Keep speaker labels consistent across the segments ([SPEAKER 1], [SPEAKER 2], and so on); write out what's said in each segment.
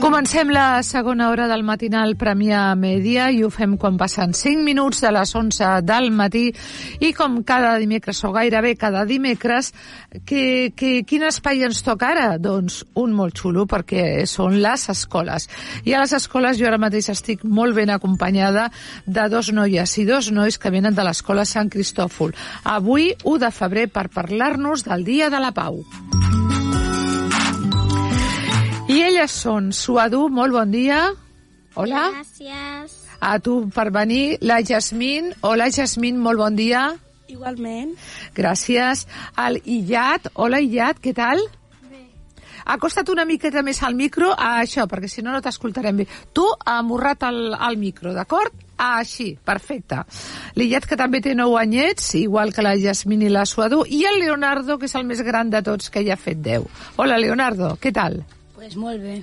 [SPEAKER 1] Comencem la segona hora del matinal Premià Mèdia i ho fem quan passen 5 minuts de les 11 del matí i com cada dimecres o gairebé cada dimecres que, que, quin espai ens toca ara? Doncs un molt xulo perquè són les escoles i a les escoles jo ara mateix estic molt ben acompanyada de dos noies i dos nois que venen de l'escola Sant Cristòfol avui 1 de febrer per parlar-nos del Dia de la Pau. I elles són Suadu, molt bon dia. Hola.
[SPEAKER 2] Gràcies.
[SPEAKER 1] A tu per venir, la Jasmine. Hola, Jasmine, molt bon dia.
[SPEAKER 3] Igualment.
[SPEAKER 1] Gràcies. El Illat. Hola, Illat, què tal? Acosta't una miqueta més al micro, a això, perquè si no no t'escoltarem bé. Tu amorrat al, al micro, d'acord? Així, perfecte. L'Illat, que també té 9 anyets, igual que la Jasmine i la Suadu, i el Leonardo, que és el més gran de tots, que ja ha fet 10. Hola, Leonardo, què tal?
[SPEAKER 4] Pues molt bé.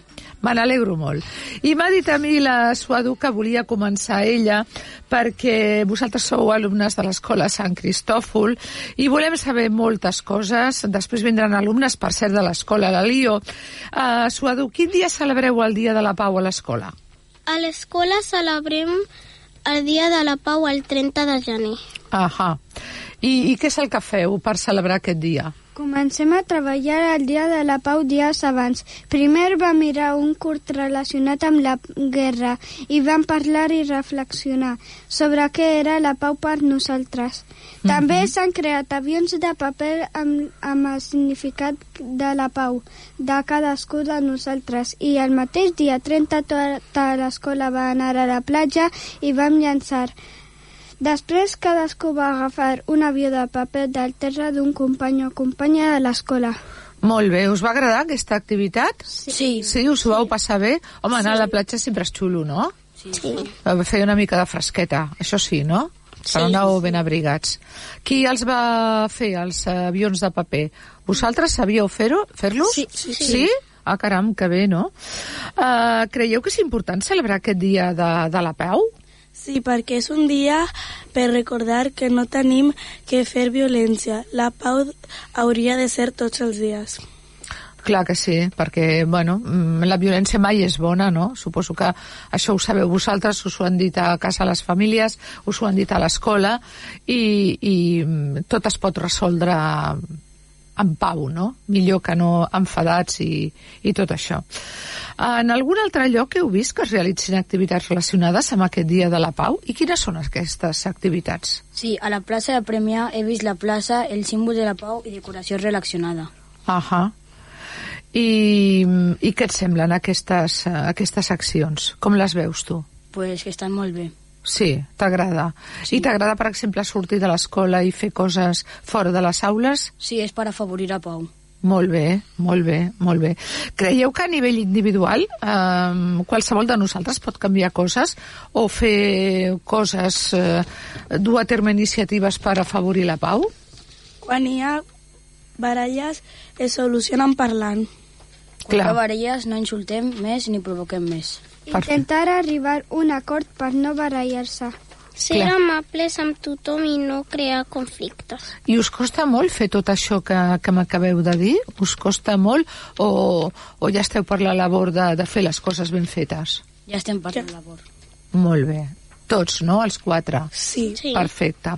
[SPEAKER 1] Me n'alegro molt. I m'ha dit a mi la Suadu que volia començar ella perquè vosaltres sou alumnes de l'escola Sant Cristòfol i volem saber moltes coses. Després vindran alumnes, per cert, de l'escola La Lio. Uh, Suadu, quin dia celebreu el Dia de la Pau a l'escola?
[SPEAKER 2] A l'escola celebrem el Dia de la Pau el 30 de gener.
[SPEAKER 1] Ahà. I, I què és el que feu per celebrar aquest dia?
[SPEAKER 5] Comencem a treballar el Dia de la Pau dies abans. Primer vam mirar un curt relacionat amb la guerra i vam parlar i reflexionar sobre què era la pau per nosaltres. També s'han creat avions de paper amb, amb el significat de la pau de cadascú de nosaltres i el mateix dia 30 tota l'escola va anar a la platja i vam llançar Després cadascú va agafar un avió de paper del terra d'un company o companya de l'escola.
[SPEAKER 1] Molt bé, us va agradar aquesta activitat?
[SPEAKER 4] Sí.
[SPEAKER 1] Sí, us ho vau passar bé? Home, anar a la platja sempre és xulo, no?
[SPEAKER 2] Sí.
[SPEAKER 1] Feia una mica de fresqueta, això sí, no? Però anàveu ben abrigats. Qui els va fer, els avions de paper? Vosaltres sabíeu fer-ho- fer-los?
[SPEAKER 4] Sí, sí, sí.
[SPEAKER 1] sí? Ah, caram, que bé, no? Uh, creieu que és important celebrar aquest dia de, de la pau?
[SPEAKER 3] Sí, perquè és un dia per recordar que no tenim que fer violència. La pau hauria de ser tots els dies.
[SPEAKER 1] Clar que sí, perquè, bueno, mm, la violència mai és bona, no? Suposo que això ho sabeu vosaltres, us ho han dit a casa a les famílies, us ho han dit a l'escola, i, i mm, tot es pot resoldre en pau, no? Millor que no enfadats i, i tot això. En algun altre lloc heu vist que es realitzin activitats relacionades amb aquest Dia de la Pau? I quines són aquestes activitats?
[SPEAKER 4] Sí, a la plaça de Premià he vist la plaça, el símbol de la pau i decoració relacionada.
[SPEAKER 1] Ahà. I, I què et semblen aquestes, eh, aquestes accions? Com les veus tu?
[SPEAKER 4] Pues que estan molt bé.
[SPEAKER 1] Sí, t'agrada. I t'agrada, per exemple, sortir de l'escola i fer coses fora de les aules?
[SPEAKER 4] Sí, és per afavorir la pau.
[SPEAKER 1] Molt bé, molt bé, molt bé. Creieu que a nivell individual eh, qualsevol de nosaltres pot canviar coses o fer coses, eh, dur a terme iniciatives per afavorir la pau?
[SPEAKER 3] Quan hi ha baralles, es solucionen parlant.
[SPEAKER 4] Quan
[SPEAKER 1] Clar.
[SPEAKER 4] Clar. baralles no insultem més ni provoquem més.
[SPEAKER 1] Perfecte.
[SPEAKER 5] Intentar arribar a un acord per no barallar-se.
[SPEAKER 2] Ser
[SPEAKER 1] Clar.
[SPEAKER 2] amables amb tothom i no crear conflictes.
[SPEAKER 1] I us costa molt fer tot això que, que m'acabeu de dir? Us costa molt o, o ja esteu per la labor de, de fer les coses ben fetes?
[SPEAKER 4] Ja estem per la labor.
[SPEAKER 1] Molt bé. Tots, no? Els quatre.
[SPEAKER 3] Sí.
[SPEAKER 2] Sí.
[SPEAKER 1] Perfecte.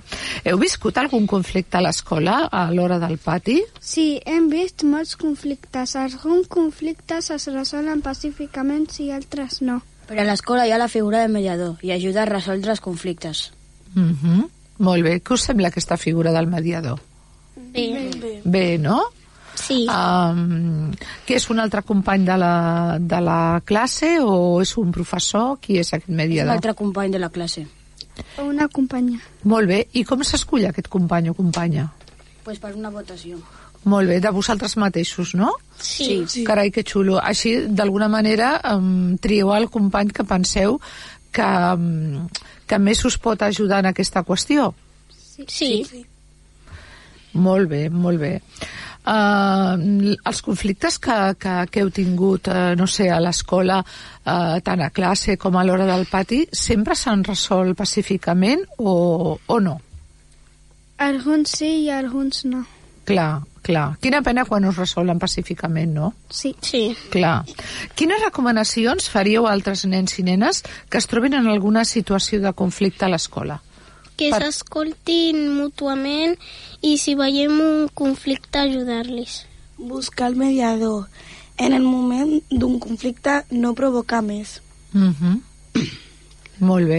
[SPEAKER 1] Heu viscut algun conflicte a l'escola a l'hora del pati?
[SPEAKER 5] Sí, hem vist molts conflictes. Alguns conflictes es resolen pacíficament i altres no.
[SPEAKER 4] Però a l'escola hi ha la figura de mediador i ajuda a resoldre els conflictes.
[SPEAKER 1] Mm Molt bé. Què us sembla aquesta figura del mediador?
[SPEAKER 2] Bé.
[SPEAKER 1] Bé, no?
[SPEAKER 2] Sí.
[SPEAKER 1] Um, que és un altre company de la, de la classe o és un professor? Qui és aquest
[SPEAKER 4] És un
[SPEAKER 1] mediador?
[SPEAKER 4] altre company de la classe.
[SPEAKER 5] o una companya.
[SPEAKER 1] Molt bé. I com s'escull aquest company o companya?
[SPEAKER 4] pues, per una votació.
[SPEAKER 1] Molt bé, de vosaltres mateixos, no?
[SPEAKER 2] Sí.
[SPEAKER 3] Sí.
[SPEAKER 1] Carai, que xulo. Així, d'alguna manera, um, trieu el company que penseu que, em, que més us pot ajudar en aquesta qüestió.
[SPEAKER 2] Sí. sí.
[SPEAKER 1] Molt bé, molt bé. Uh, els conflictes que, que, que heu tingut, uh, no sé, a l'escola, uh, tant a classe com a l'hora del pati, sempre s'han resolt pacíficament o, o no?
[SPEAKER 5] Alguns sí i alguns no.
[SPEAKER 1] Clar, clar. Quina pena quan us resolen pacíficament, no?
[SPEAKER 5] Sí.
[SPEAKER 2] Sí.
[SPEAKER 1] Clar. Quines recomanacions faríeu a altres nens i nenes que es trobin en alguna situació de conflicte a l'escola?
[SPEAKER 2] Que
[SPEAKER 1] Per-
[SPEAKER 2] s'escoltin mútuament i si veiem un conflicte ajudar-los.
[SPEAKER 3] Buscar el mediador en el moment d'un conflicte no provocar més.
[SPEAKER 1] Mm Molt bé.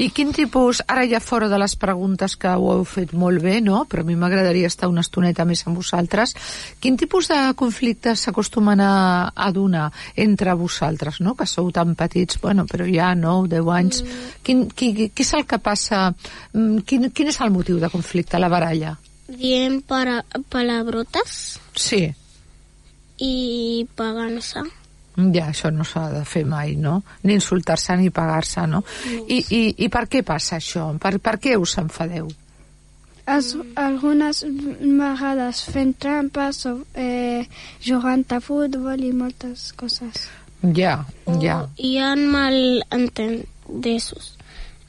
[SPEAKER 1] I quin tipus, ara ja fora de les preguntes que ho heu fet molt bé, no? però a mi m'agradaria estar una estoneta més amb vosaltres, quin tipus de conflictes s'acostumen a, a donar entre vosaltres, no? que sou tan petits, bueno, però ja 9, 10 anys, quin, qui, què és el que passa, mm, quin, quin és el motiu de conflicte, la baralla?
[SPEAKER 2] Diem para palabrotes
[SPEAKER 1] Sí,
[SPEAKER 2] i pagant-se.
[SPEAKER 1] Ja, això no s'ha de fer mai, no? Ni insultar-se ni pagar-se, no? I, i, I per què passa això? Per, per què us enfadeu?
[SPEAKER 5] Es, algunes vegades fent trampes o eh, jugant a futbol i moltes coses.
[SPEAKER 1] Ja, ja.
[SPEAKER 2] Hi ha mal entendesos.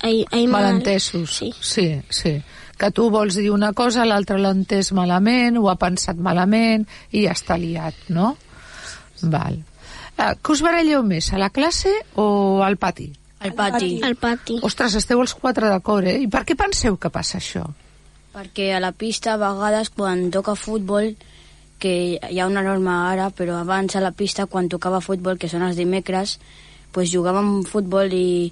[SPEAKER 2] Ai, ai, mal-
[SPEAKER 1] Malentesos.
[SPEAKER 2] Sí.
[SPEAKER 1] sí, sí. Que tu vols dir una cosa, l'altre l'ha entès malament, ho ha pensat malament i ja està liat, no? Val. Eh, que us baralleu més, a la classe o al pati?
[SPEAKER 4] Al pati.
[SPEAKER 2] Al pati.
[SPEAKER 1] Ostres, esteu els quatre d'acord, eh? I per què penseu que passa això?
[SPEAKER 4] Perquè a la pista a vegades quan toca futbol, que hi ha una norma ara, però abans a la pista quan tocava futbol, que són els dimecres, pues jugàvem futbol i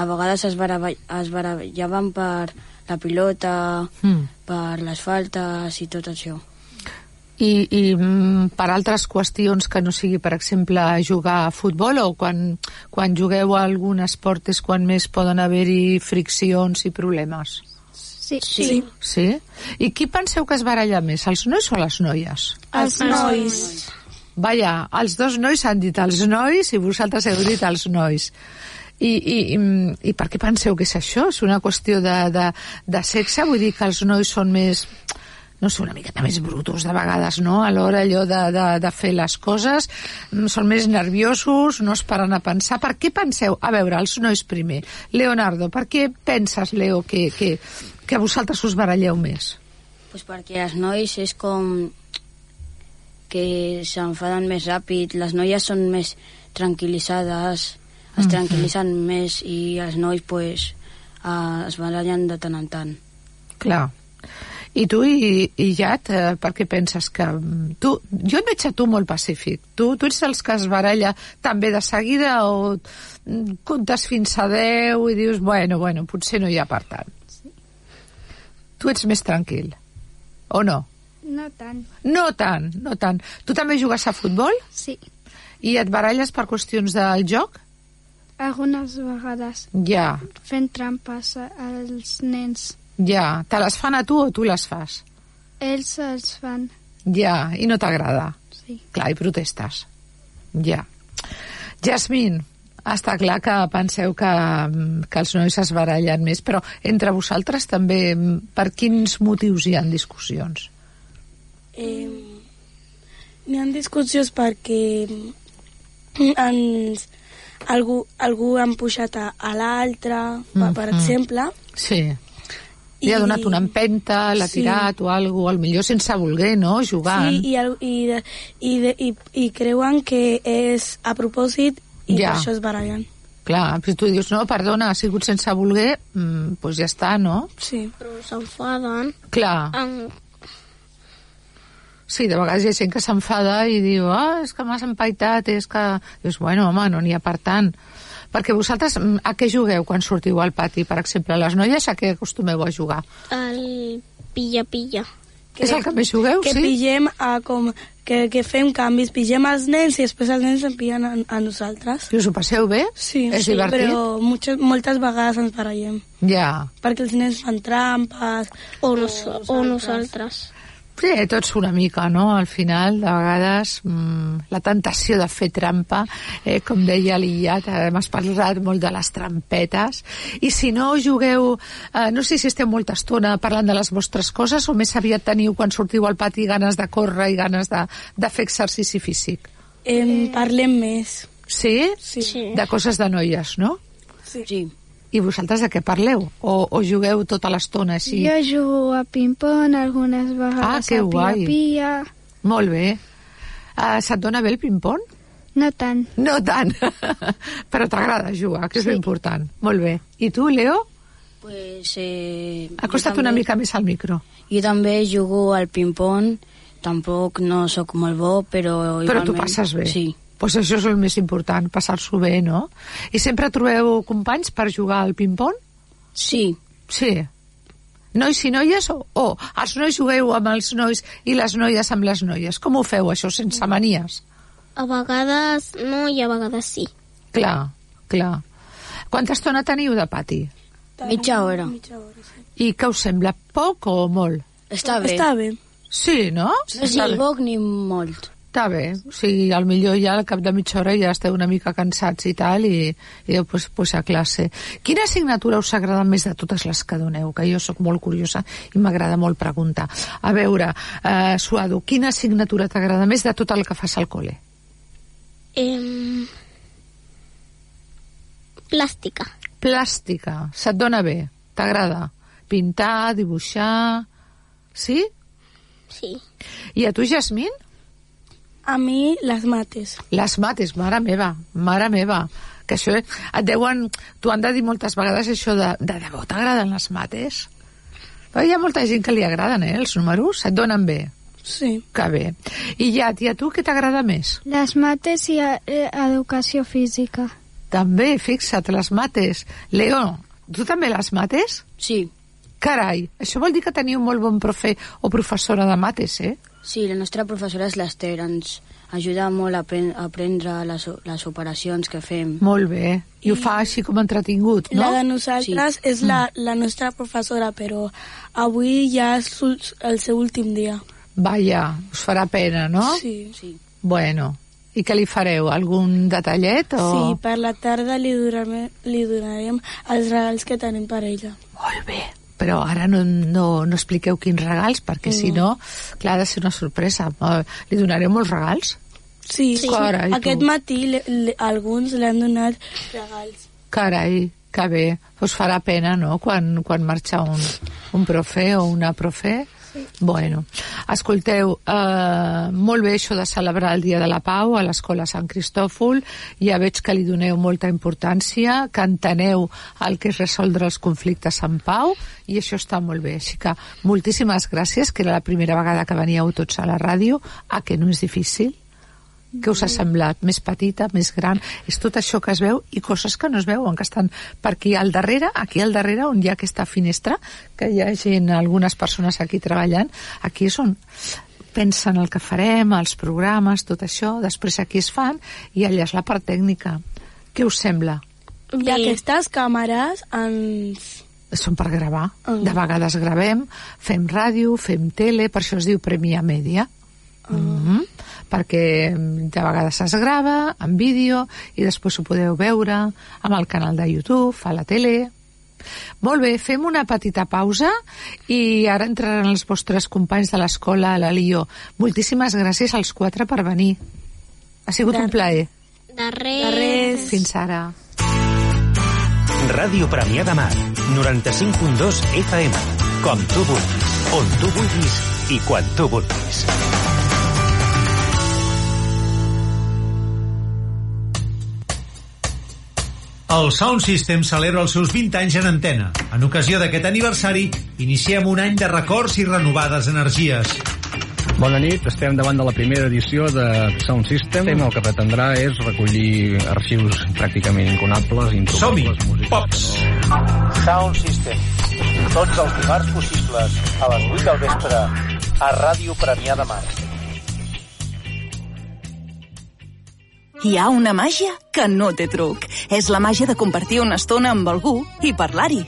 [SPEAKER 4] a vegades es, barava, es barallaven per la pilota,
[SPEAKER 1] Mm.
[SPEAKER 4] per les faltes i tot això.
[SPEAKER 1] I, i mm, per altres qüestions que no sigui, per exemple, jugar a futbol o quan, quan jugueu a algun esport és quan més poden haver-hi friccions i problemes.
[SPEAKER 5] Sí.
[SPEAKER 3] Sí.
[SPEAKER 1] Sí? I qui penseu que es baralla més, els nois o les noies?
[SPEAKER 5] Els nois.
[SPEAKER 1] Vaja, els dos nois han dit els nois i vosaltres heu dit els nois. I, i, i, mm, i per què penseu que és això? És una qüestió de, de, de sexe? Vull dir que els nois són més no sé, una miqueta més brutos de vegades, no? A l'hora allò de, de, de fer les coses, mm, són més nerviosos, no es paren a pensar. Per què penseu? A veure, els nois primer. Leonardo, per què penses, Leo, que, que, que vosaltres us baralleu més?
[SPEAKER 4] Pues perquè els nois és com que s'enfaden més ràpid, les noies són més tranquil·litzades, es
[SPEAKER 1] Mm-hmm.
[SPEAKER 4] tranquil·litzen més i els nois pues, eh, es barallen de tant en tant.
[SPEAKER 1] Clar. I tu, i, i Jat, eh, per què penses que... mm, Tu, jo et veig a tu molt pacífic. Tu, tu ets dels que es baralla també de seguida o mm, comptes fins a 10 i dius, bueno, bueno, potser no hi ha per tant. Tu ets més tranquil, o no?
[SPEAKER 5] No tant.
[SPEAKER 1] No tant, no tant. Tu també jugues a futbol
[SPEAKER 5] Sí.
[SPEAKER 1] i et baralles per qüestions del joc?
[SPEAKER 5] Algunes vegades
[SPEAKER 1] Ja,
[SPEAKER 5] fent trampes a- als nens.
[SPEAKER 1] ja. Te les fan a tu o tu les fas?
[SPEAKER 5] Ells els fan.
[SPEAKER 1] Ja, i no t'agrada.
[SPEAKER 5] Sí.
[SPEAKER 1] Clar, i protestes. Ja. Jasmine, està clar que penseu que, mm, que els nois es barallen més, però entre vosaltres també mm, per quins motius hi han discussions?
[SPEAKER 3] Eh, N'hi ha discussions perquè
[SPEAKER 2] Mm.
[SPEAKER 3] ens, algú, algú ha empujat a, a l'altre, mm, per exemple.
[SPEAKER 1] Sí. Li ha donat una empenta, l'ha
[SPEAKER 3] Sí.
[SPEAKER 1] tirat o alguna cosa, millor sense voler, no?, jugant.
[SPEAKER 3] Sí, i, al- i, de- i, de- i, i creuen que és a propòsit i
[SPEAKER 1] Ja.
[SPEAKER 3] per això es barallen.
[SPEAKER 1] Clar, però tu dius, no, perdona, ha sigut sense voler, doncs pues ja està, no?
[SPEAKER 3] Sí.
[SPEAKER 2] Però s'enfaden.
[SPEAKER 1] Clar.
[SPEAKER 2] En-
[SPEAKER 1] Sí, de vegades hi ha gent que s'enfada i diu, ah, és que m'has empaitat, és que... Dius, bueno, home, no n'hi ha per tant. Perquè vosaltres mm, a què jugueu quan sortiu al pati? Per exemple, les noies a què acostumeu a jugar?
[SPEAKER 2] El pilla-pilla.
[SPEAKER 1] és el que més jugueu,
[SPEAKER 3] Que
[SPEAKER 1] sí?
[SPEAKER 3] pillem a com que, que fem canvis, pillem els nens i després els nens em pillen a, a nosaltres.
[SPEAKER 1] I us ho passeu bé?
[SPEAKER 3] Sí,
[SPEAKER 1] És
[SPEAKER 3] sí
[SPEAKER 1] divertit?
[SPEAKER 3] però muchas, moltes vegades ens barallem,
[SPEAKER 1] Ja.
[SPEAKER 3] perquè els nens fan trampes...
[SPEAKER 2] O, nos, o nosaltres.
[SPEAKER 1] Sí, tots una mica, no? Al final, de vegades, mmm, la tentació de fer trampa, eh, com deia l'Illat, hem parlat molt de les trampetes, i si no jugueu, eh, no sé si esteu molta estona parlant de les vostres coses o més aviat teniu quan sortiu al pati ganes de córrer i ganes de, de fer exercici físic.
[SPEAKER 3] Em parlem més.
[SPEAKER 1] Sí?
[SPEAKER 3] Sí.
[SPEAKER 2] Sí.
[SPEAKER 1] De coses de noies, no?
[SPEAKER 3] Sí.
[SPEAKER 4] Sí.
[SPEAKER 1] I vosaltres de què parleu? O, o jugueu tota l'estona així?
[SPEAKER 5] Jo jugo a ping-pong algunes
[SPEAKER 1] Ah,
[SPEAKER 5] vegades
[SPEAKER 1] que
[SPEAKER 5] a
[SPEAKER 1] guai.
[SPEAKER 5] pia-pia.
[SPEAKER 1] Molt bé. Uh, se't dona bé el ping-pong?
[SPEAKER 5] No tant.
[SPEAKER 1] No tant, però t'agrada jugar, que és sí. important. Molt bé. I tu, Leo?
[SPEAKER 4] Pues, eh, jo
[SPEAKER 1] Acosta't
[SPEAKER 4] també-
[SPEAKER 1] una mica més al micro.
[SPEAKER 4] Jo també jugo al ping-pong, tampoc no sóc molt bo, però...
[SPEAKER 1] Però tu
[SPEAKER 4] igualment-
[SPEAKER 1] passes bé.
[SPEAKER 4] Sí,
[SPEAKER 1] Pues això és el més important, passar-s'ho bé, no? I sempre trobeu companys per jugar al ping-pong?
[SPEAKER 4] sí,
[SPEAKER 1] Sí. Nois i noies o, o els nois jugueu amb els nois i les noies amb les noies? Com ho feu, això, sense manies?
[SPEAKER 2] A vegades no i a vegades sí.
[SPEAKER 1] Clar, clar. Quanta estona teniu de pati?
[SPEAKER 4] mitja hora.
[SPEAKER 3] Mitja hora, sí.
[SPEAKER 1] I què us sembla, poc o molt?
[SPEAKER 4] Està bé.
[SPEAKER 3] Està bé.
[SPEAKER 1] Sí, no?
[SPEAKER 4] No és ni poc ni molt.
[SPEAKER 1] Està bé, o sigui, al millor ja al cap de mitja hora ja esteu una mica cansats i tal, i, i deu pues, pues a classe. Quina assignatura us agrada més de totes les que doneu? Que jo sóc molt curiosa i m'agrada molt preguntar. A veure, eh, Suado, quina assignatura t'agrada més de tot el que fas al col·le?
[SPEAKER 2] Em... Plàstica.
[SPEAKER 1] Plàstica, se't dona bé? T'agrada? Pintar, dibuixar... Sí?
[SPEAKER 2] Sí.
[SPEAKER 1] I a tu, Jasmine?
[SPEAKER 3] A mi, les mates.
[SPEAKER 1] Les mates, mare meva, mare meva. Que això eh, et deuen... T'ho han de dir moltes vegades, això de, de debò t'agraden les mates? Però hi ha molta gent que li agraden, eh, els números. Et donen bé.
[SPEAKER 3] Sí.
[SPEAKER 1] Que bé. I ja, i a tu què t'agrada més?
[SPEAKER 5] Les mates i eh, educació física.
[SPEAKER 1] També, fixa't, les mates. Leo, tu també les mates?
[SPEAKER 4] Sí,
[SPEAKER 1] Carai, això vol dir que teniu molt bon profe o professora de mates, eh?
[SPEAKER 4] sí, la nostra professora és l'Ester, ens ajuda molt a, apren a aprendre les, o- les operacions que fem.
[SPEAKER 1] Molt bé. I ho fa així com entretingut, no?
[SPEAKER 3] La de nosaltres sí. és la, la nostra professora, però avui ja és l'úl- el seu últim dia.
[SPEAKER 1] Vaja, us farà pena, no?
[SPEAKER 3] Sí.
[SPEAKER 4] Sí.
[SPEAKER 1] Bueno, i què li fareu? Algun detallet? O...
[SPEAKER 3] Sí, per la tarda li donarem, li donarem els regals que tenim per ella.
[SPEAKER 1] Molt bé. Però ara no, no, no expliqueu quins regals, perquè si no, clar, ha de ser una sorpresa. Eh, Li donareu molts regals?
[SPEAKER 3] Sí,
[SPEAKER 1] Sí. Carai, tu.
[SPEAKER 3] aquest matí le, le, alguns li han donat regals.
[SPEAKER 1] Carai, que bé. Us farà pena, no?, quan, quan marxa un, un profe o una profe. Bueno, escolteu, eh, molt bé això de celebrar el Dia de la Pau a l'Escola Sant Cristòfol. Ja veig que li doneu molta importància, que enteneu el que és resoldre els conflictes en pau, i això està molt bé. Així que moltíssimes gràcies, que era la primera vegada que veníeu tots a la ràdio, a que no és difícil. Què us ha semblat? Més petita, més gran? És tot això que es veu i coses que no es veuen, que estan per aquí al darrere, aquí al darrere, on hi ha aquesta finestra, que hi ha gent, algunes persones aquí treballant, aquí és on pensen el que farem, els programes, tot això, després aquí es fan i allà és la part tècnica. Què us sembla?
[SPEAKER 3] I aquestes càmeres ens...
[SPEAKER 1] són per gravar. De vegades gravem, fem ràdio, fem tele, per això es diu Premià Mèdia. Mm -hmm. perquè mm, de vegades es grava en vídeo i després ho podeu veure amb el canal de YouTube, a la tele molt bé, fem una petita pausa i ara entraran els vostres companys de l'escola a la Lió moltíssimes gràcies als quatre per venir ha sigut un plaer
[SPEAKER 2] De res.
[SPEAKER 3] De res.
[SPEAKER 1] fins ara
[SPEAKER 6] Ràdio Premià de Mar, 95.2 FM. Com tu vulguis, on tu vulguis i quan tu vulguis.
[SPEAKER 7] El Sound System celebra els seus 20 anys en antena. En ocasió d'aquest aniversari, iniciem un any de records i renovades energies.
[SPEAKER 8] Bona nit, estem davant de la primera edició de Sound System. El que pretendrà és recollir arxius pràcticament inconables.
[SPEAKER 7] Som-hi!
[SPEAKER 8] introbables, música
[SPEAKER 7] Pops!
[SPEAKER 6] Sound System. Tots els dimarts possibles, a les 8 del vespre, a Ràdio Premià de Mar.
[SPEAKER 9] Hi ha una màgia que no té truc. És la màgia de compartir una estona amb algú i parlar-hi.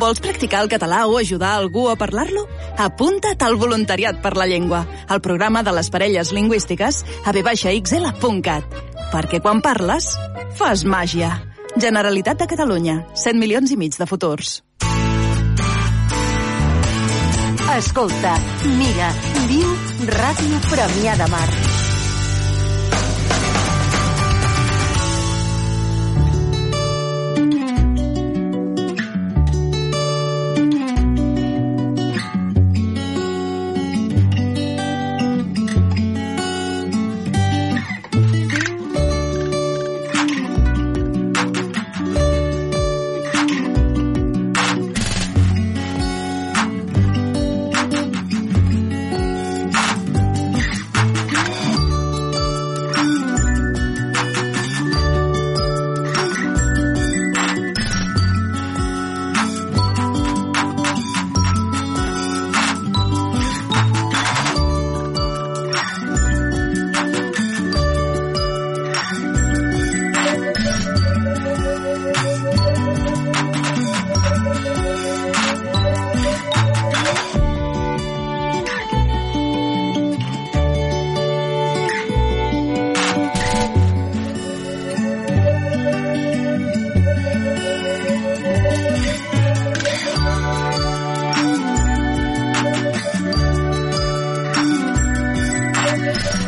[SPEAKER 9] Vols practicar el català o ajudar algú a parlar-lo? Apunta't al Voluntariat per la Llengua, al programa de les parelles lingüístiques a vxl.cat. Perquè quan parles, fas màgia. Generalitat de Catalunya, 100 milions i mig de futurs.
[SPEAKER 10] Escolta, mira, viu Ràdio Premià de Mar.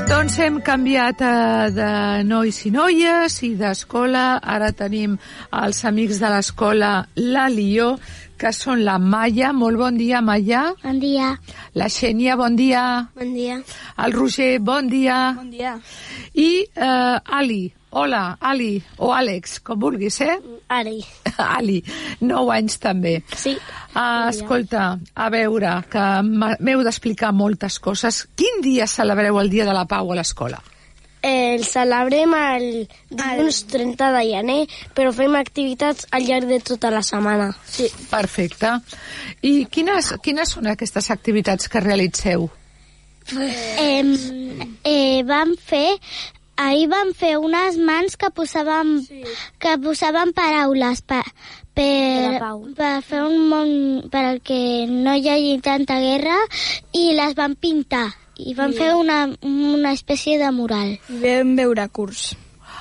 [SPEAKER 1] Doncs hem canviat eh, de nois i noies i d'escola. Ara tenim els amics de l'escola La Lió, que són la Maia. Molt bon dia, Maia.
[SPEAKER 2] Bon dia.
[SPEAKER 1] La Xènia, bon dia.
[SPEAKER 2] Bon dia.
[SPEAKER 1] El Roger, bon dia.
[SPEAKER 2] Bon dia.
[SPEAKER 1] I eh, Ali. Hola, Ali, o Àlex, com vulguis, eh?
[SPEAKER 2] Ari.
[SPEAKER 1] Ali, 9 anys també.
[SPEAKER 2] Sí.
[SPEAKER 1] Ah, escolta, a veure, que m'ha- m'heu d'explicar moltes coses. Quin dia celebreu el Dia de la Pau a l'escola?
[SPEAKER 11] El celebrem el dilluns 30 de gener, però fem activitats al llarg de tota la setmana.
[SPEAKER 1] Sí. Perfecte. I quines, quines són aquestes activitats que realitzeu?
[SPEAKER 2] Eh, eh, vam fer... Ahir vam fer unes mans que posaven, sí. que posaven paraules per, per, per fer un món perquè no hi hagi tanta guerra i les van pintar i van
[SPEAKER 1] Sí.
[SPEAKER 2] fer una, una espècie de mural.
[SPEAKER 1] Vam veure curs.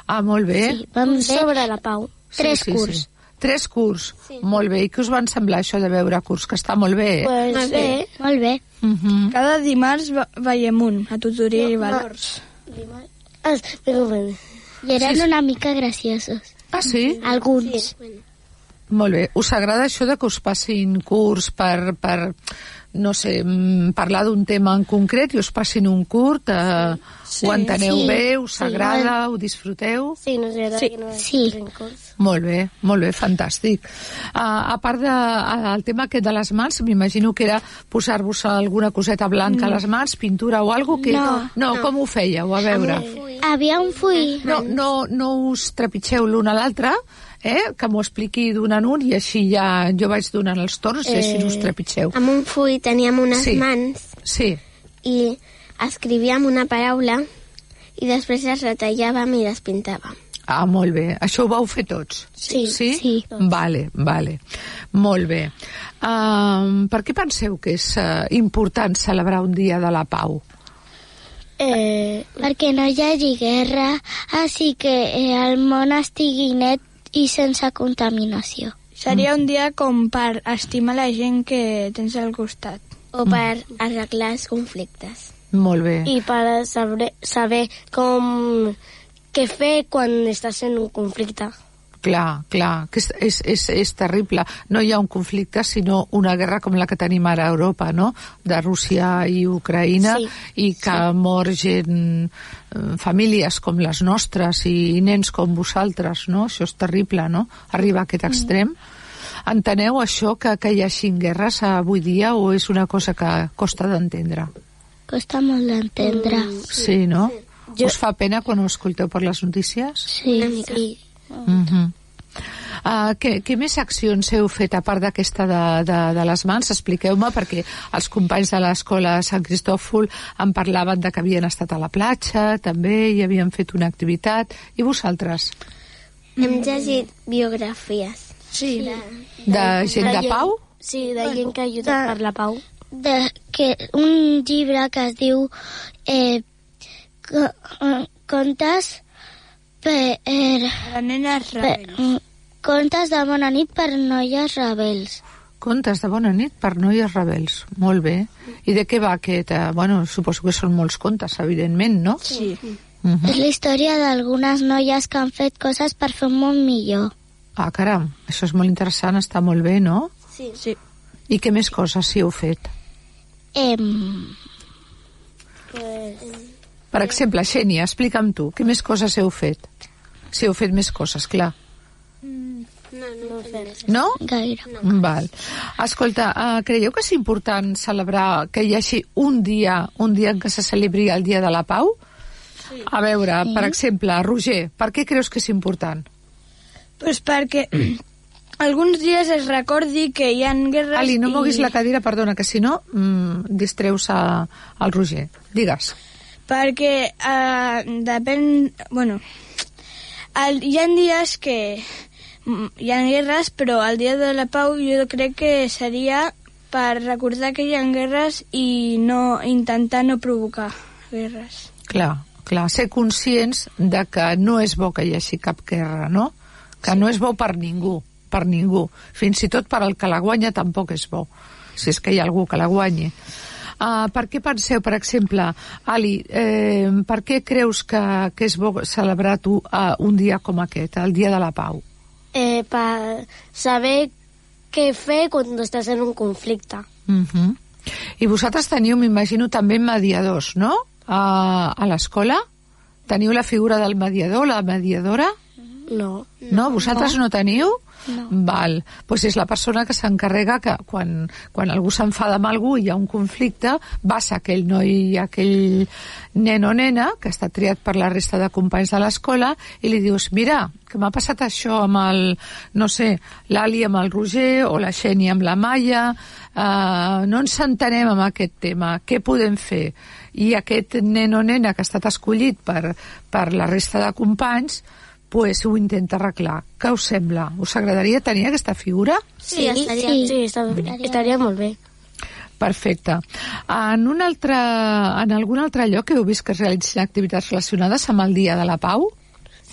[SPEAKER 1] Ah, molt bé.
[SPEAKER 2] Sí, vam Curs fer sobre la pau. tres curs.
[SPEAKER 1] Tres curs. Sí. Molt bé. I què us van semblar això de veure curs? Que està molt bé, eh?
[SPEAKER 2] Molt bé. Molt bé.
[SPEAKER 1] Uh -huh.
[SPEAKER 3] Cada dimarts va- veiem un, a tutoria i valors.
[SPEAKER 2] I eren
[SPEAKER 1] Sí, sí.
[SPEAKER 2] una mica graciosos.
[SPEAKER 1] Ah, sí?
[SPEAKER 2] Alguns.
[SPEAKER 1] Molt bé. Us agrada això de que us passin curs per, per no sé, mm, parlar d'un tema en concret i us passin un curt? Eh, sí. Ho enteneu
[SPEAKER 11] Sí.
[SPEAKER 1] bé? Us
[SPEAKER 11] Sí,
[SPEAKER 1] agrada? ho disfruteu?
[SPEAKER 11] Sí, no sé,
[SPEAKER 1] Sí.
[SPEAKER 11] que no
[SPEAKER 2] Sí.
[SPEAKER 1] Molt bé, molt bé, fantàstic. Uh, a part del de, a- el tema aquest de les mans, m'imagino que era posar-vos alguna coseta blanca a les mans, pintura o alguna que...
[SPEAKER 2] No,
[SPEAKER 1] no,
[SPEAKER 2] no.
[SPEAKER 1] com ho fèieu? A veure.
[SPEAKER 2] Havia un full.
[SPEAKER 1] No, no, no us trepitgeu l'un a l'altre, eh? que m'ho expliqui d'un en un i així ja jo vaig donant els torns i així
[SPEAKER 11] Eh,
[SPEAKER 1] no us trepitgeu.
[SPEAKER 11] Amb un full teníem unes
[SPEAKER 1] Sí.
[SPEAKER 11] mans
[SPEAKER 1] Sí,
[SPEAKER 11] i escrivíem una paraula i després les retallàvem i les pintàvem.
[SPEAKER 1] ah, molt bé. Això ho vau fer tots?
[SPEAKER 11] Sí,
[SPEAKER 1] Sí?
[SPEAKER 11] sí.
[SPEAKER 1] Vale, vale. Molt bé. Um, per què penseu que és uh, important celebrar un dia de la pau?
[SPEAKER 2] Eh... Perquè no hi hagi guerra, així que eh, el món estigui net i sense contaminació.
[SPEAKER 3] Seria un dia com per estimar la gent que tens al costat.
[SPEAKER 11] O per arreglar els conflictes.
[SPEAKER 1] Molt bé.
[SPEAKER 11] I per saber, saber com... què fer quan estàs en un conflicte.
[SPEAKER 1] Clar, clar, que és, és, és, és terrible. No hi ha un conflicte, sinó una guerra com la que tenim ara a Europa, no?, de Rússia i Ucraïna,
[SPEAKER 12] Sí,
[SPEAKER 1] i que mor gent, eh, famílies com les nostres i nens com vosaltres, no? Això és terrible, no?, arribar a aquest extrem. Enteneu això, que, que hi hagi guerres avui dia, o és una cosa que costa d'entendre?
[SPEAKER 2] Costa molt d'entendre.
[SPEAKER 1] Sí, no? Us fa pena quan ho escolteu per les notícies?
[SPEAKER 2] Sí, sí.
[SPEAKER 1] Uh -huh. Uh, què, què més accions heu fet a part d'aquesta de, de, de les mans? Expliqueu-me, perquè els companys de l'escola Sant Cristòfol em parlaven de que havien estat a la platja, també, i havien fet una activitat. I vosaltres?
[SPEAKER 12] Hem llegit biografies.
[SPEAKER 1] Sí. De gent de pau?
[SPEAKER 12] Sí, de gent que ajuda
[SPEAKER 1] Ah.
[SPEAKER 12] per la pau.
[SPEAKER 2] de que un llibre que es diu eh, co- eh, Contes per... De
[SPEAKER 12] nenes
[SPEAKER 2] rebels. Contes de bona nit per noies rebels.
[SPEAKER 1] Contes de bona nit per noies rebels. Molt bé. I de què va aquest? eh, Bueno, suposo que són molts contes, evidentment, no?
[SPEAKER 12] Sí.
[SPEAKER 1] Mhm.
[SPEAKER 2] És la història d'algunes noies que han fet coses per fer un món millor.
[SPEAKER 1] Ah, caram, això és molt interessant, està molt bé, no?
[SPEAKER 2] Sí.
[SPEAKER 12] sí.
[SPEAKER 1] I què més coses sí heu fet?
[SPEAKER 2] Em...
[SPEAKER 1] Per exemple, Xènia, explica'm tu, què més coses heu fet? Si heu fet més coses, clar.
[SPEAKER 12] No, no, no.
[SPEAKER 1] No?
[SPEAKER 2] Gaire.
[SPEAKER 1] No. Val. Escolta, uh, creieu que és important celebrar que hi hagi un dia, un dia en què se celebri el Dia de la Pau? Sí. A veure, sí. per exemple, Roger, per què creus que és important?
[SPEAKER 13] Pues perquè alguns dies es recordi que hi ha guerres...
[SPEAKER 1] Ali, no
[SPEAKER 13] i-
[SPEAKER 1] moguis la cadira, perdona, que si no mm, distreus a, al Roger. Digues.
[SPEAKER 13] Perquè eh, depèn... Bueno, el, hi ha dies que mm, hi ha guerres, però el dia de la pau jo crec que seria per recordar que hi ha guerres i no intentar no provocar guerres.
[SPEAKER 1] Clar, clar, ser conscients de que no és bo que hi hagi cap guerra, no? Que sí. no és bo per ningú, per ningú. Fins i tot per al que la guanya tampoc és bo, si és que hi ha algú que la guanyi. Uh, per què penseu, per exemple, Ali, eh, per què creus que, que és bo celebrar tu uh, un dia com aquest, el Dia de la Pau?
[SPEAKER 11] Eh, para saber qué fe cuando estás en un conflicto.
[SPEAKER 1] Uh -huh. I vosaltres teniu, m'imagino, també mediadors, no? A, a l'escola? Teniu la figura del mediador, la mediadora?
[SPEAKER 11] No.
[SPEAKER 1] No, vosaltres no, teniu?
[SPEAKER 11] No.
[SPEAKER 1] Val, doncs és la persona que s'encarrega que quan, quan algú s'enfada amb algú i hi ha un conflicte, vas a aquell noi i aquell nen o nena que està triat per la resta de companys de l'escola i li dius, mira, que m'ha passat això amb el, no sé, l'Ali amb el Roger o la Xènia amb la Maia, eh, no ens entenem amb aquest tema, què podem fer? I aquest nen o nena que ha estat escollit per, per la resta de companys, pues ho intenta arreglar. Què us sembla? Us agradaria tenir aquesta figura?
[SPEAKER 11] Sí,
[SPEAKER 12] Sí,
[SPEAKER 11] estaría,
[SPEAKER 12] sí.
[SPEAKER 11] sí, esta- estaría muy bien.
[SPEAKER 1] Perfecte. En, un altre, en algun altre lloc heu vist que es realitzen activitats relacionades amb el Dia de la Pau?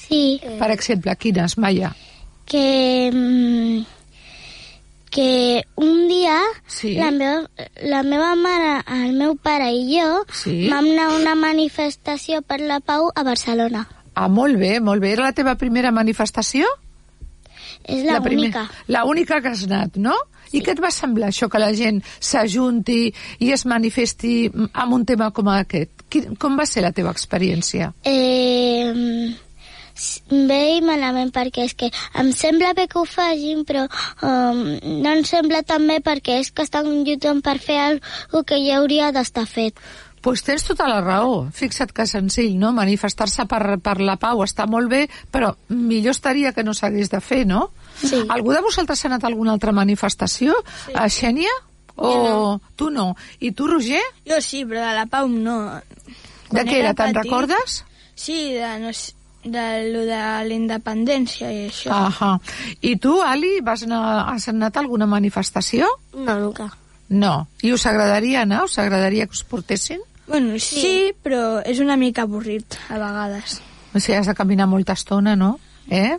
[SPEAKER 2] Sí.
[SPEAKER 1] Per exemple, quines, Maia?
[SPEAKER 2] que mm, que un dia
[SPEAKER 1] Sí.
[SPEAKER 2] la, meva, la meva mare, el meu pare i jo
[SPEAKER 1] Sí.
[SPEAKER 2] vam anar a una manifestació per la pau a Barcelona.
[SPEAKER 1] Ah, molt bé, molt bé. Era la teva primera manifestació?
[SPEAKER 2] És la,
[SPEAKER 1] primer-
[SPEAKER 2] única.
[SPEAKER 1] La única que has anat, no? I què et va semblar això, que la gent s'ajunti i es manifesti mm, amb un tema com aquest? Qui- Com va ser la teva experiència?
[SPEAKER 2] Eh, s- bé i malament perquè és que em sembla bé que ho facin però um, no em sembla tan bé perquè és que estan lluitant per fer el que ja hauria d'estar fet.
[SPEAKER 1] Pues tens tota la raó. Fixa't que senzill, no? Manifestar-se per, per la pau està molt bé, però millor estaria que no s'hagués de fer, no?
[SPEAKER 12] Sí.
[SPEAKER 1] Algú de vosaltres ha anat a alguna altra manifestació? Sí. A Xènia? O tu no? I tu, Roger?
[SPEAKER 13] Jo sí, però de la pau no.
[SPEAKER 1] De
[SPEAKER 13] Quan
[SPEAKER 1] què era?
[SPEAKER 13] era
[SPEAKER 1] Te'n
[SPEAKER 13] petit,
[SPEAKER 1] recordes?
[SPEAKER 13] Sí, de, no, sé, de lo de la independència i això.
[SPEAKER 1] Ahà. I tu, Ali, vas anar, has anat a alguna manifestació?
[SPEAKER 11] No, nunca.
[SPEAKER 1] No. I us agradaria anar? Us agradaria que us portessin?
[SPEAKER 13] Bueno, sí, sí, però és una mica avorrit, a vegades.
[SPEAKER 1] O sigui, has de caminar molta estona, no? Eh?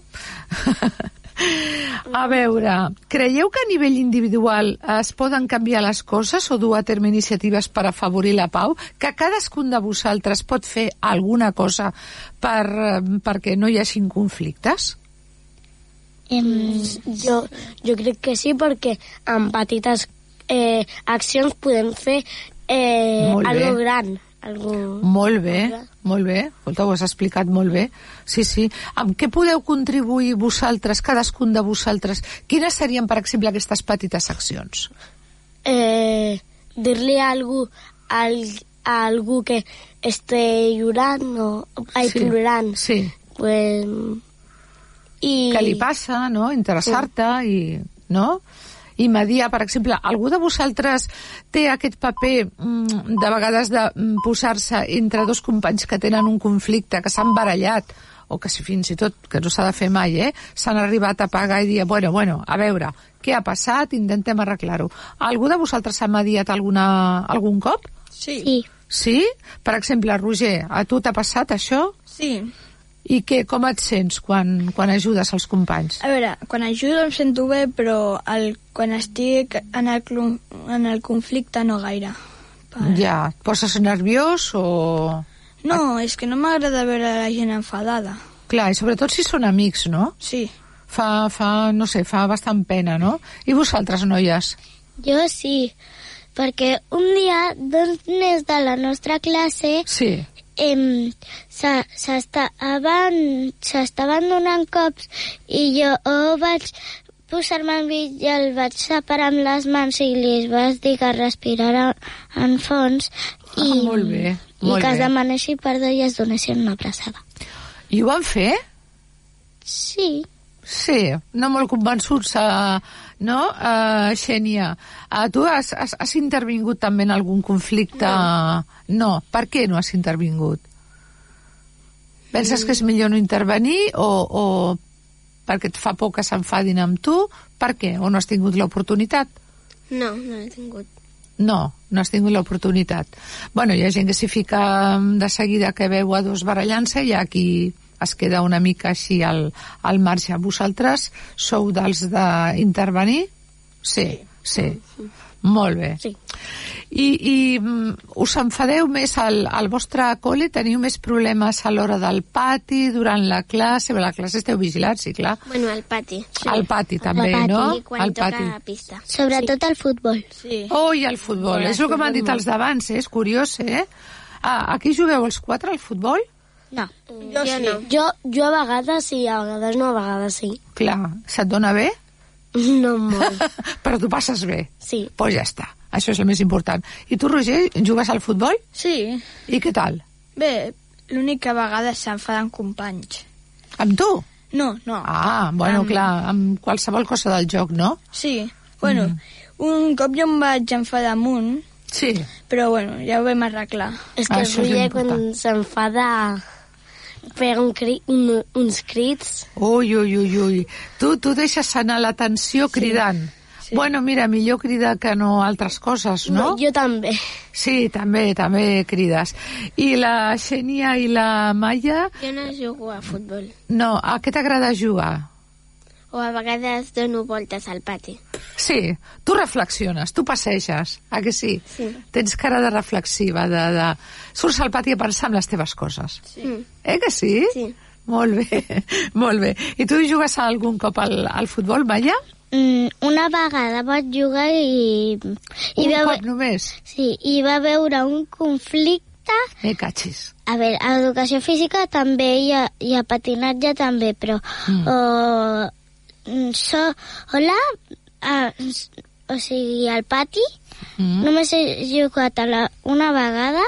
[SPEAKER 1] A veure, creieu que a nivell individual es poden canviar les coses o dur a terme iniciatives per afavorir la pau? Que cadascun de vosaltres pot fer alguna cosa per, eh, perquè no hi hagin conflictes?
[SPEAKER 2] Em,
[SPEAKER 1] Mm.
[SPEAKER 11] Jo, jo crec que sí, perquè amb petites eh, accions podem fer eh,
[SPEAKER 1] Molt bé.
[SPEAKER 11] algo gran. Algo...
[SPEAKER 1] Molt bé, molt bé. Escolta, ho has explicat molt bé. Sí, sí. Amb què podeu contribuir vosaltres, cadascun de vosaltres? Quines serien, per exemple, aquestes petites accions?
[SPEAKER 11] Eh, Dir-li a algú, al, a algú que esté llorant o ai,
[SPEAKER 1] Sí.
[SPEAKER 2] Mm.
[SPEAKER 11] plorant.
[SPEAKER 1] Sí.
[SPEAKER 11] Pues,
[SPEAKER 1] I... Què li passa, no? Interessar-te i... No? i mediar, per exemple, algú de vosaltres té aquest paper mm, de vegades de mm, posar-se entre dos companys que tenen un conflicte, que s'han barallat, o que si fins i tot, que no s'ha de fer mai, eh? s'han arribat a pagar i dir, bueno, bueno, a veure, què ha passat, intentem arreglar-ho. Algú de vosaltres s'ha mediat alguna, algun cop?
[SPEAKER 13] Sí.
[SPEAKER 1] sí. Sí? Per exemple, Roger, a tu t'ha passat això?
[SPEAKER 13] Sí.
[SPEAKER 1] I què, com et sents quan, quan ajudes els companys?
[SPEAKER 13] A veure, quan ajudo em sento bé, però el, quan estic en el, clu- en el conflicte no gaire.
[SPEAKER 1] Ja, et poses nerviós o...
[SPEAKER 13] No, és que no m'agrada veure la gent enfadada.
[SPEAKER 1] Clar, i sobretot si són amics, no?
[SPEAKER 13] Sí.
[SPEAKER 1] Fa, fa, no sé, fa bastant pena, no? I vosaltres, noies?
[SPEAKER 2] Jo sí, perquè un dia
[SPEAKER 11] doncs,
[SPEAKER 2] dos nens de la nostra classe
[SPEAKER 1] sí.
[SPEAKER 2] em, se- s'estaven s'estaven donant cops i jo oh, vaig posar-me al mig i el vaig separar amb les mans i li vaig dir que respirara en fons i,
[SPEAKER 1] Ah, molt bé,
[SPEAKER 2] i
[SPEAKER 1] molt
[SPEAKER 2] que es
[SPEAKER 1] bé.
[SPEAKER 2] demanessin perdó i es donessin una abraçada.
[SPEAKER 1] I ho van fer?
[SPEAKER 2] Sí.
[SPEAKER 1] Sí, no molt convençuts, eh, no, eh, Xènia? Eh, tu has, has, has intervingut també en algun conflicte? No. Per què no has intervingut? Penses que és millor no intervenir o, o perquè et fa por que s'enfadin amb tu? Per què? O no has tingut l'oportunitat?
[SPEAKER 12] No, no l'he tingut.
[SPEAKER 1] No, no has tingut l'oportunitat. Bueno, hi ha gent que s'hi fica mm, de seguida que veu a dos barallant-se i aquí es queda una mica així al, al marge. Vosaltres sou dels d'intervenir? Sí, sí. Molt bé.
[SPEAKER 12] Sí.
[SPEAKER 1] I, i mm, us enfadeu més al, al vostre col·le? Teniu més problemes a l'hora del pati, durant la classe? Bé, la classe esteu vigilats, sí, clar.
[SPEAKER 12] Bueno, al pati. Sí.
[SPEAKER 1] Al pati, també,
[SPEAKER 12] al pati,
[SPEAKER 1] no?
[SPEAKER 12] Quan
[SPEAKER 1] Al
[SPEAKER 12] toca
[SPEAKER 1] pati.
[SPEAKER 12] pista.
[SPEAKER 2] Sobretot al futbol.
[SPEAKER 12] Sí.
[SPEAKER 1] Oh, i el futbol.
[SPEAKER 12] Hola,
[SPEAKER 1] és el que m'han dit
[SPEAKER 12] futbol.
[SPEAKER 1] els d'abans, eh? és curiós, eh? Ah, aquí jugueu els quatre al futbol?
[SPEAKER 2] No.
[SPEAKER 12] Jo sí. no.
[SPEAKER 11] Jo, jo a vegades sí, a vegades no, a vegades sí.
[SPEAKER 1] Clar, se't dona bé?
[SPEAKER 11] No molt.
[SPEAKER 1] Però tu passes bé?
[SPEAKER 11] Sí.
[SPEAKER 1] Doncs pues ja està, això és el més important. I tu, Roger, jugues al futbol?
[SPEAKER 13] Sí.
[SPEAKER 1] I què tal?
[SPEAKER 13] Bé, l'única vegada s'enfaden companys.
[SPEAKER 1] Amb tu?
[SPEAKER 13] No, no.
[SPEAKER 1] Ah, bueno,
[SPEAKER 13] Amb-
[SPEAKER 1] clar, amb qualsevol cosa del joc, no?
[SPEAKER 13] Sí. Bueno, un cop jo em vaig enfadar amb un,
[SPEAKER 1] sí.
[SPEAKER 13] però bueno, ja ho vam arreglar.
[SPEAKER 11] És
[SPEAKER 1] Ah,
[SPEAKER 11] que el Roger quan s'enfada pega un cri, un, uns crits.
[SPEAKER 1] Ui, ui, ui, ui. Tu, tu deixes anar l'atenció cridant. Sí. Bueno, mira, millor cridar que no altres coses, no?
[SPEAKER 11] Jo també.
[SPEAKER 1] Sí, també, també crides. I la Xènia i la Maia,
[SPEAKER 12] Jo no jugo a futbol.
[SPEAKER 1] no, a què t'agrada jugar?
[SPEAKER 12] O a vegades dono voltes al pati.
[SPEAKER 1] Sí, tu reflexiones, tu passeges, a que sí?
[SPEAKER 12] Sí.
[SPEAKER 1] Tens cara de reflexiva, de, de... Surts al pati a pensar en les teves coses.
[SPEAKER 12] Sí.
[SPEAKER 1] Eh que sí? Sí. Molt bé, molt bé. I tu jugues algun cop al, al futbol, Maia?
[SPEAKER 2] Mm, una vegada vaig jugar i... i
[SPEAKER 1] Un cop només?
[SPEAKER 2] Sí, i va veure un conflicte...
[SPEAKER 1] Me Eh, catxis.
[SPEAKER 2] A veure, a educació física també i a, i a patinatge també, però... Mm. O, mm, so, hola, a, s- o sigui, al pati mm. només he jugat a la, una vegada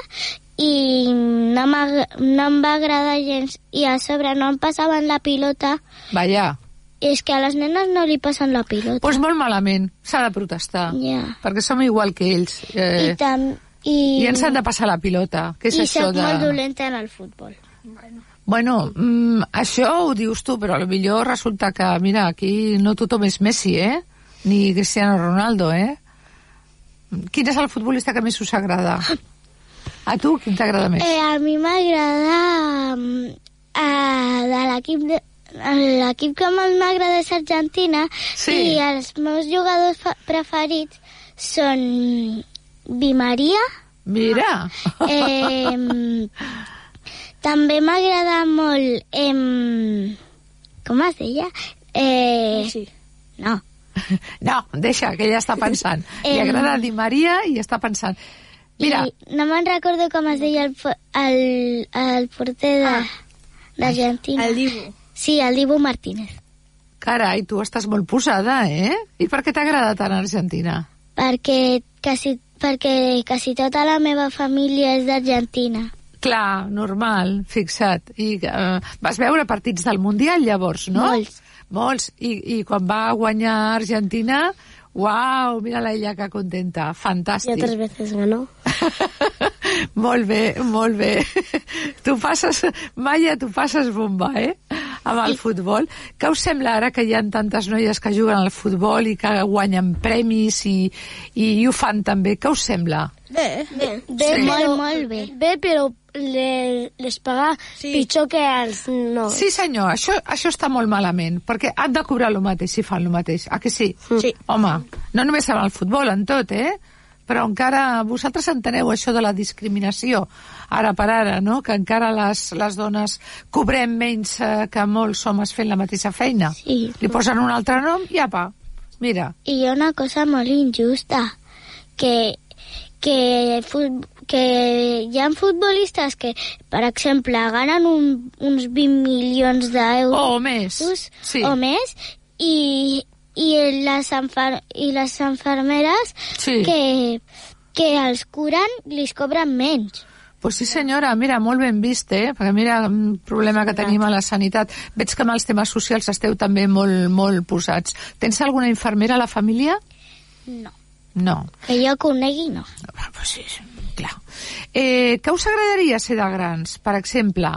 [SPEAKER 2] i no, m'ag- no em va agradar gens i a sobre no em passaven la pilota
[SPEAKER 1] Vaja,
[SPEAKER 2] és que a les nenes no li passen la pilota.
[SPEAKER 1] doncs pues molt malament, s'ha de protestar.
[SPEAKER 2] Ja.
[SPEAKER 1] Perquè som igual que ells. eh,
[SPEAKER 2] I, tam, i,
[SPEAKER 1] I ens han de passar la pilota. Què és
[SPEAKER 2] i
[SPEAKER 1] això
[SPEAKER 2] soc
[SPEAKER 1] de...
[SPEAKER 2] molt dolenta en el futbol.
[SPEAKER 1] Bueno, mm, això ho dius tu, però potser resulta que, mira, aquí no tothom és Messi, eh? Ni Cristiano Ronaldo, eh? Quin és el futbolista que més us agrada? A tu, quin t'agrada més?
[SPEAKER 2] Eh, a mi m'agrada mm, eh, de l'equip de eh, l'equip que més m'agrada és Argentina sí. i els meus jugadors fa- preferits són Di Maria
[SPEAKER 1] Mira!
[SPEAKER 2] eh, també m'agrada molt eh, com es deia? Eh,
[SPEAKER 13] sí.
[SPEAKER 2] no
[SPEAKER 1] No, deixa, que ja està pensant. Li
[SPEAKER 2] Em.
[SPEAKER 1] agrada Di Maria i està pensant. Mira,
[SPEAKER 2] I no me'n recordo com es deia el, po- el, el porter de- d'Argentina. Ah. El
[SPEAKER 13] Dibu.
[SPEAKER 2] Sí, el Dibu Martínez.
[SPEAKER 1] carai, tu estàs molt posada, eh? I per què t'agrada tant Argentina?
[SPEAKER 2] Perquè quasi, perquè quasi tota la meva família és d'Argentina.
[SPEAKER 1] Clar, normal, fixa't. I eh, vas veure partits del Mundial llavors, no?
[SPEAKER 12] Molts.
[SPEAKER 1] Molts. I, i quan va guanyar Argentina, uau, mira la ella que contenta,
[SPEAKER 12] Y
[SPEAKER 1] fantàstic.
[SPEAKER 12] otras veces ganó.
[SPEAKER 1] Molt bé, molt bé. Tu passes, Maia, tu passes bomba, eh? Amb el futbol. Què us sembla ara que hi ha tantes noies que juguen al futbol i que guanyen premis i, i ho fan també? Què us sembla?
[SPEAKER 12] Bé, bé,
[SPEAKER 11] Bé,
[SPEAKER 12] sí.
[SPEAKER 11] però-
[SPEAKER 12] molt, molt bé.
[SPEAKER 11] Bé, però le, les paga sí. pitjor que els no.
[SPEAKER 1] Sí, senyor, això, això està molt malament, perquè han de cobrar el mateix si fan el mateix. Ah, que sí?
[SPEAKER 13] Sí.
[SPEAKER 1] Home, no només en el futbol, en tot, eh? Però encara vosaltres enteneu això de la discriminació, ara per ara, no? Que encara les, les dones cobrem menys eh, que molts homes fent la mateixa feina.
[SPEAKER 12] Sí.
[SPEAKER 1] Li posen un altre nom i apa, mira.
[SPEAKER 12] I hi ha una cosa molt injusta, que, que, fut, que hi ha futbolistes que, per exemple, ganen un, uns 20 milions d'euros...
[SPEAKER 1] O més, sí.
[SPEAKER 12] O més, i, i, les, enfer i les enfermeres
[SPEAKER 1] Sí.
[SPEAKER 12] que, que els curen li cobren menys.
[SPEAKER 1] Pues sí, senyora, mira, molt ben vist, eh? Perquè mira el problema que tenim a la sanitat. Veig que amb els temes socials esteu també molt, molt posats. Tens alguna infermera a la família?
[SPEAKER 12] No.
[SPEAKER 1] No. Ah,
[SPEAKER 12] Que jo conegui, no.
[SPEAKER 1] Pues sí, sí, clar. Eh, què us agradaria ser de grans, per exemple?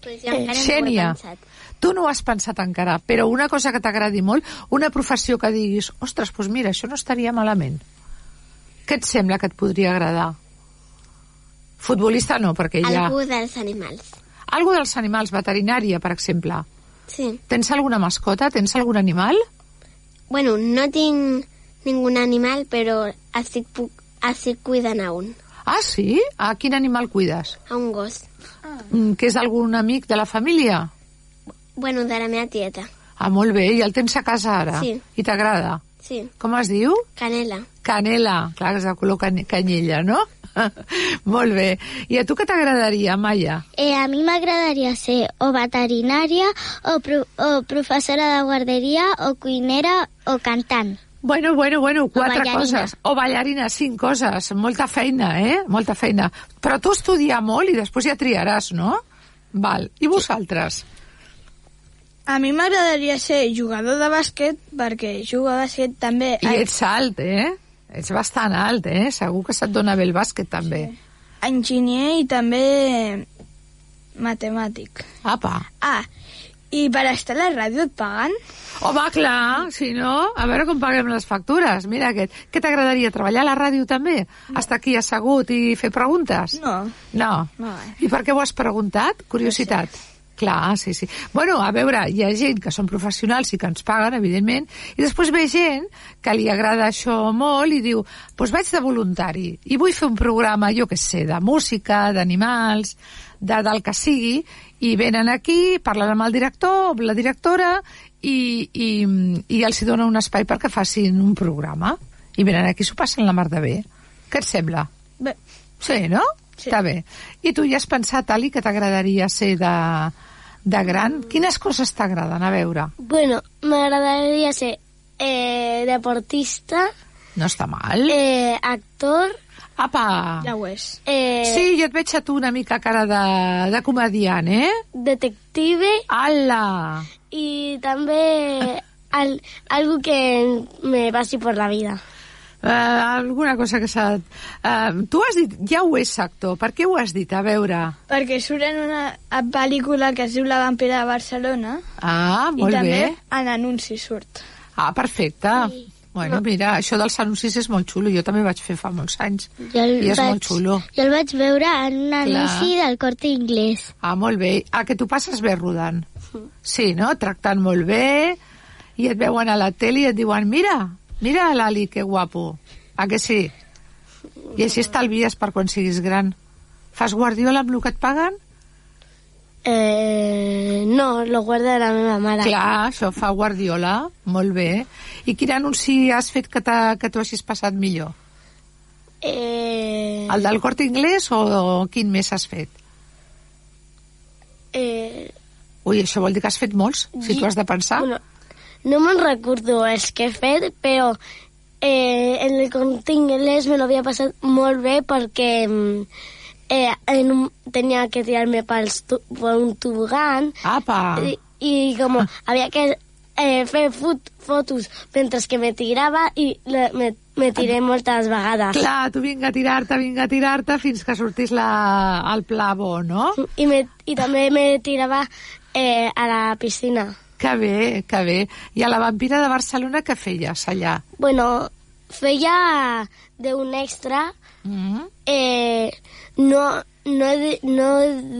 [SPEAKER 12] Pues
[SPEAKER 1] jo encara no ho he Xènia. pensat. Tu no ho has pensat encara, però una cosa que t'agradi molt, una professió que diguis, ostres, doncs mira, això no estaria malament. Què et sembla que et podria agradar? Futbolista no, perquè ja...
[SPEAKER 12] Algú dels animals.
[SPEAKER 1] Algo dels animals, veterinària, per exemple.
[SPEAKER 12] Sí.
[SPEAKER 1] Tens alguna mascota? Tens algun animal?
[SPEAKER 12] Bueno, no tinc ningun animal, però estic, puc, estic cuidant a un,
[SPEAKER 1] Ah, sí? A quin animal cuides?
[SPEAKER 12] a un gos.
[SPEAKER 1] Mm, Que és algun amic de la família?
[SPEAKER 12] Bueno, de la meva tieta,
[SPEAKER 1] Ah, molt bé. I el tens a casa ara?
[SPEAKER 12] Sí.
[SPEAKER 1] I t'agrada?
[SPEAKER 12] sí.
[SPEAKER 1] Com es diu?
[SPEAKER 12] Canela.
[SPEAKER 1] Canela. Clar, que és de color can canyella, no? molt bé. I a tu què t'agradaria, Maia?
[SPEAKER 2] Eh, a mi m'agradaria ser o veterinària, o, pro o professora de guarderia, o cuinera, o cantant.
[SPEAKER 1] Bueno, bueno, bueno, quatre
[SPEAKER 2] ballarina.
[SPEAKER 1] coses. O ballarina, cinc coses. Molta feina, eh? Molta feina. Però tu estudia molt i després ja triaràs, no? Val. I vosaltres?
[SPEAKER 13] A mi m'agradaria ser jugador de bàsquet perquè jugo a bàsquet també...
[SPEAKER 1] I ets alt, eh? Ets bastant alt, eh? Segur que se't dona bé el bàsquet, també.
[SPEAKER 13] enginyer i també matemàtic.
[SPEAKER 1] Apa.
[SPEAKER 13] Ah, i per estar a la ràdio et paguen?
[SPEAKER 1] Home, clar, si no, a veure com paguem les factures. Mira, aquest. què t'agradaria? Treballar a la ràdio, també? No. Estar aquí assegut i fer preguntes?
[SPEAKER 13] No.
[SPEAKER 1] No.
[SPEAKER 13] No,
[SPEAKER 1] I per què ho has preguntat? Curiositat. Clar, sí, sí. Bueno, a veure, hi ha gent que són professionals i que ens paguen, evidentment, i després ve gent que li agrada això molt i diu, doncs pues vaig de voluntari i vull fer un programa, jo que sé, de música, d'animals, de, del que sigui, i venen aquí, parlen amb el director, amb la directora, i, i, i els hi dona un espai perquè facin un programa. I venen aquí, s'ho passen la mar de bé. Què et sembla?
[SPEAKER 13] Bé,
[SPEAKER 1] Sí, no?
[SPEAKER 13] Sí.
[SPEAKER 1] Està bé. I tu ja has pensat, Ali, que t'agradaria ser de, de gran?
[SPEAKER 13] Mm.
[SPEAKER 1] Quines coses t'agraden? A veure,
[SPEAKER 11] Bueno, m'agradaria ser eh, deportista,
[SPEAKER 1] no està mal.
[SPEAKER 11] eh, actor...
[SPEAKER 1] Apa!
[SPEAKER 13] Ja ho és.
[SPEAKER 11] Eh,
[SPEAKER 1] Sí, jo et veig a tu una mica cara de, de comediant, eh?
[SPEAKER 11] Detective
[SPEAKER 1] Ala!
[SPEAKER 11] i també al, algo que me passi per la vida.
[SPEAKER 1] Eh, alguna cosa que s'ha... Eh, tu has dit, ja ho és, actor. Per què ho has dit? A veure...
[SPEAKER 13] Perquè surt en una pel·lícula que es diu La vampira de Barcelona
[SPEAKER 1] Ah,
[SPEAKER 13] i
[SPEAKER 1] molt
[SPEAKER 13] també
[SPEAKER 1] bé.
[SPEAKER 13] en anunci surt.
[SPEAKER 1] Ah, perfecte. Sí. Bueno, mira, això dels anuncis és molt xulo. Jo també vaig fer fa molts anys.
[SPEAKER 2] Jo el,
[SPEAKER 1] I és
[SPEAKER 2] vaig,
[SPEAKER 1] molt xulo.
[SPEAKER 2] jo el vaig veure en un anunci del corte inglès.
[SPEAKER 1] Ah, molt bé. Ah, que tu passes bé rodant. Sí, no? Tractant molt bé, i et veuen a la tele i et diuen mira, mira l'Ali, que guapo. Ah, que sí? I així estalvies per quan siguis gran. Fas guardiola amb el que et paguen?
[SPEAKER 11] Eh, no, lo guarda la meva mare.
[SPEAKER 1] Clar, això fa guardiola, molt bé. I quin anunci has fet que t'ha- que t'ho hagis passat millor?
[SPEAKER 11] Eh,
[SPEAKER 1] El del Corte Inglés o, o quin més has fet?
[SPEAKER 11] eh,
[SPEAKER 1] Ui, això vol dir que has fet molts, si tu has de pensar.
[SPEAKER 11] Bueno, no me'n recordo els que he fet, però eh, en el corte inglès me l'havia passat molt bé perquè mm,
[SPEAKER 2] eh, en un, tenía que tirarme pels tu- por un tobogán.
[SPEAKER 1] ¡Apa!
[SPEAKER 2] Y, y como había que eh, fer fut- fotos mentre que me tirava i le, me, me tiré moltes vegades.
[SPEAKER 1] Clar, tu vinga a tirar-te, vinga a tirar-te fins que sortís la, el pla bo, no?
[SPEAKER 2] I, me, i també me tirava eh, a la piscina.
[SPEAKER 1] Que bé, que bé. I a la vampira de Barcelona què feies allà?
[SPEAKER 2] Bueno, feia d'un extra. eh, no, no, di- no,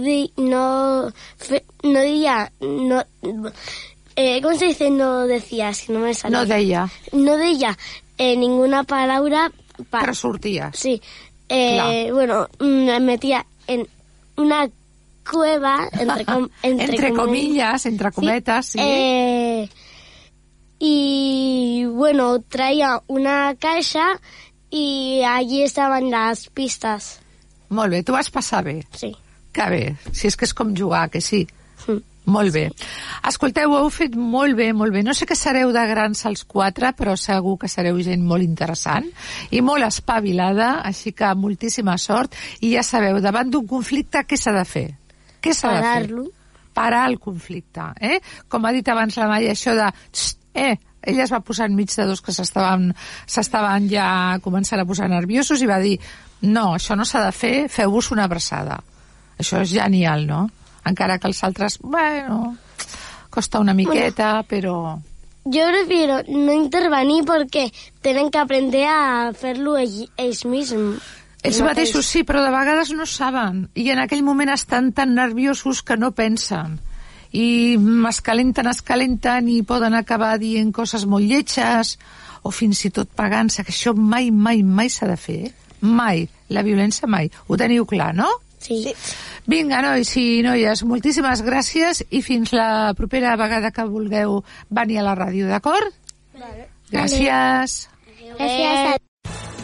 [SPEAKER 2] di- no, fe- no dia... No, eh, ¿Cómo se dice no decía? Si no me sale.
[SPEAKER 1] No deia.
[SPEAKER 2] No deia eh, ninguna palabra. pa-
[SPEAKER 1] Però sorties.
[SPEAKER 2] Sí. Eh, bueno, mm, me metía en una cueva, entre, com- entre,
[SPEAKER 1] Ah, Entre comillas, entre cometas, sí.
[SPEAKER 2] Eh, y bueno, traía una caja y allí estaban las pistas.
[SPEAKER 1] Molt bé, tu vas passar bé.
[SPEAKER 2] Sí.
[SPEAKER 1] Que bé, si és que és com jugar, que sí. Molt bé. Escolteu, ho heu fet molt bé, molt bé. No sé que sereu de grans els quatre, però segur que sereu gent molt interessant i molt espavilada, així que moltíssima sort. I ja sabeu, davant d'un conflicte, què s'ha de fer? Què s'ha de fer?
[SPEAKER 2] Parar-lo.
[SPEAKER 1] Parar el conflicte, eh? Com ha dit abans la Maia, això de... "Txt, Eh, ella es va posar enmig de dos que s'estaven s'estaven ja començant a posar nerviosos i va dir, no, això no s'ha de fer, feu-vos una abraçada. Això és genial, no? Encara que els altres, bueno, costa una miqueta, però...
[SPEAKER 2] Yo prefiero no intervenir porque tienen que aprender a hacerlo ell- ells mismos.
[SPEAKER 1] Ells mateixos sí, però de vegades no saben. I en aquell moment estan tan nerviosos que no pensen. I mm, es calenten, es calenten i poden acabar dient coses molt lletges o fins i tot pagant-se, que això mai, mai, mai s'ha de fer. eh? Mai. La violència mai. Ho teniu clar, no?
[SPEAKER 2] Sí.
[SPEAKER 1] Vinga, nois i noies, moltíssimes gràcies i fins la propera vegada que vulgueu venir a la ràdio, d'acord? Gràcies.
[SPEAKER 14] Gràcies a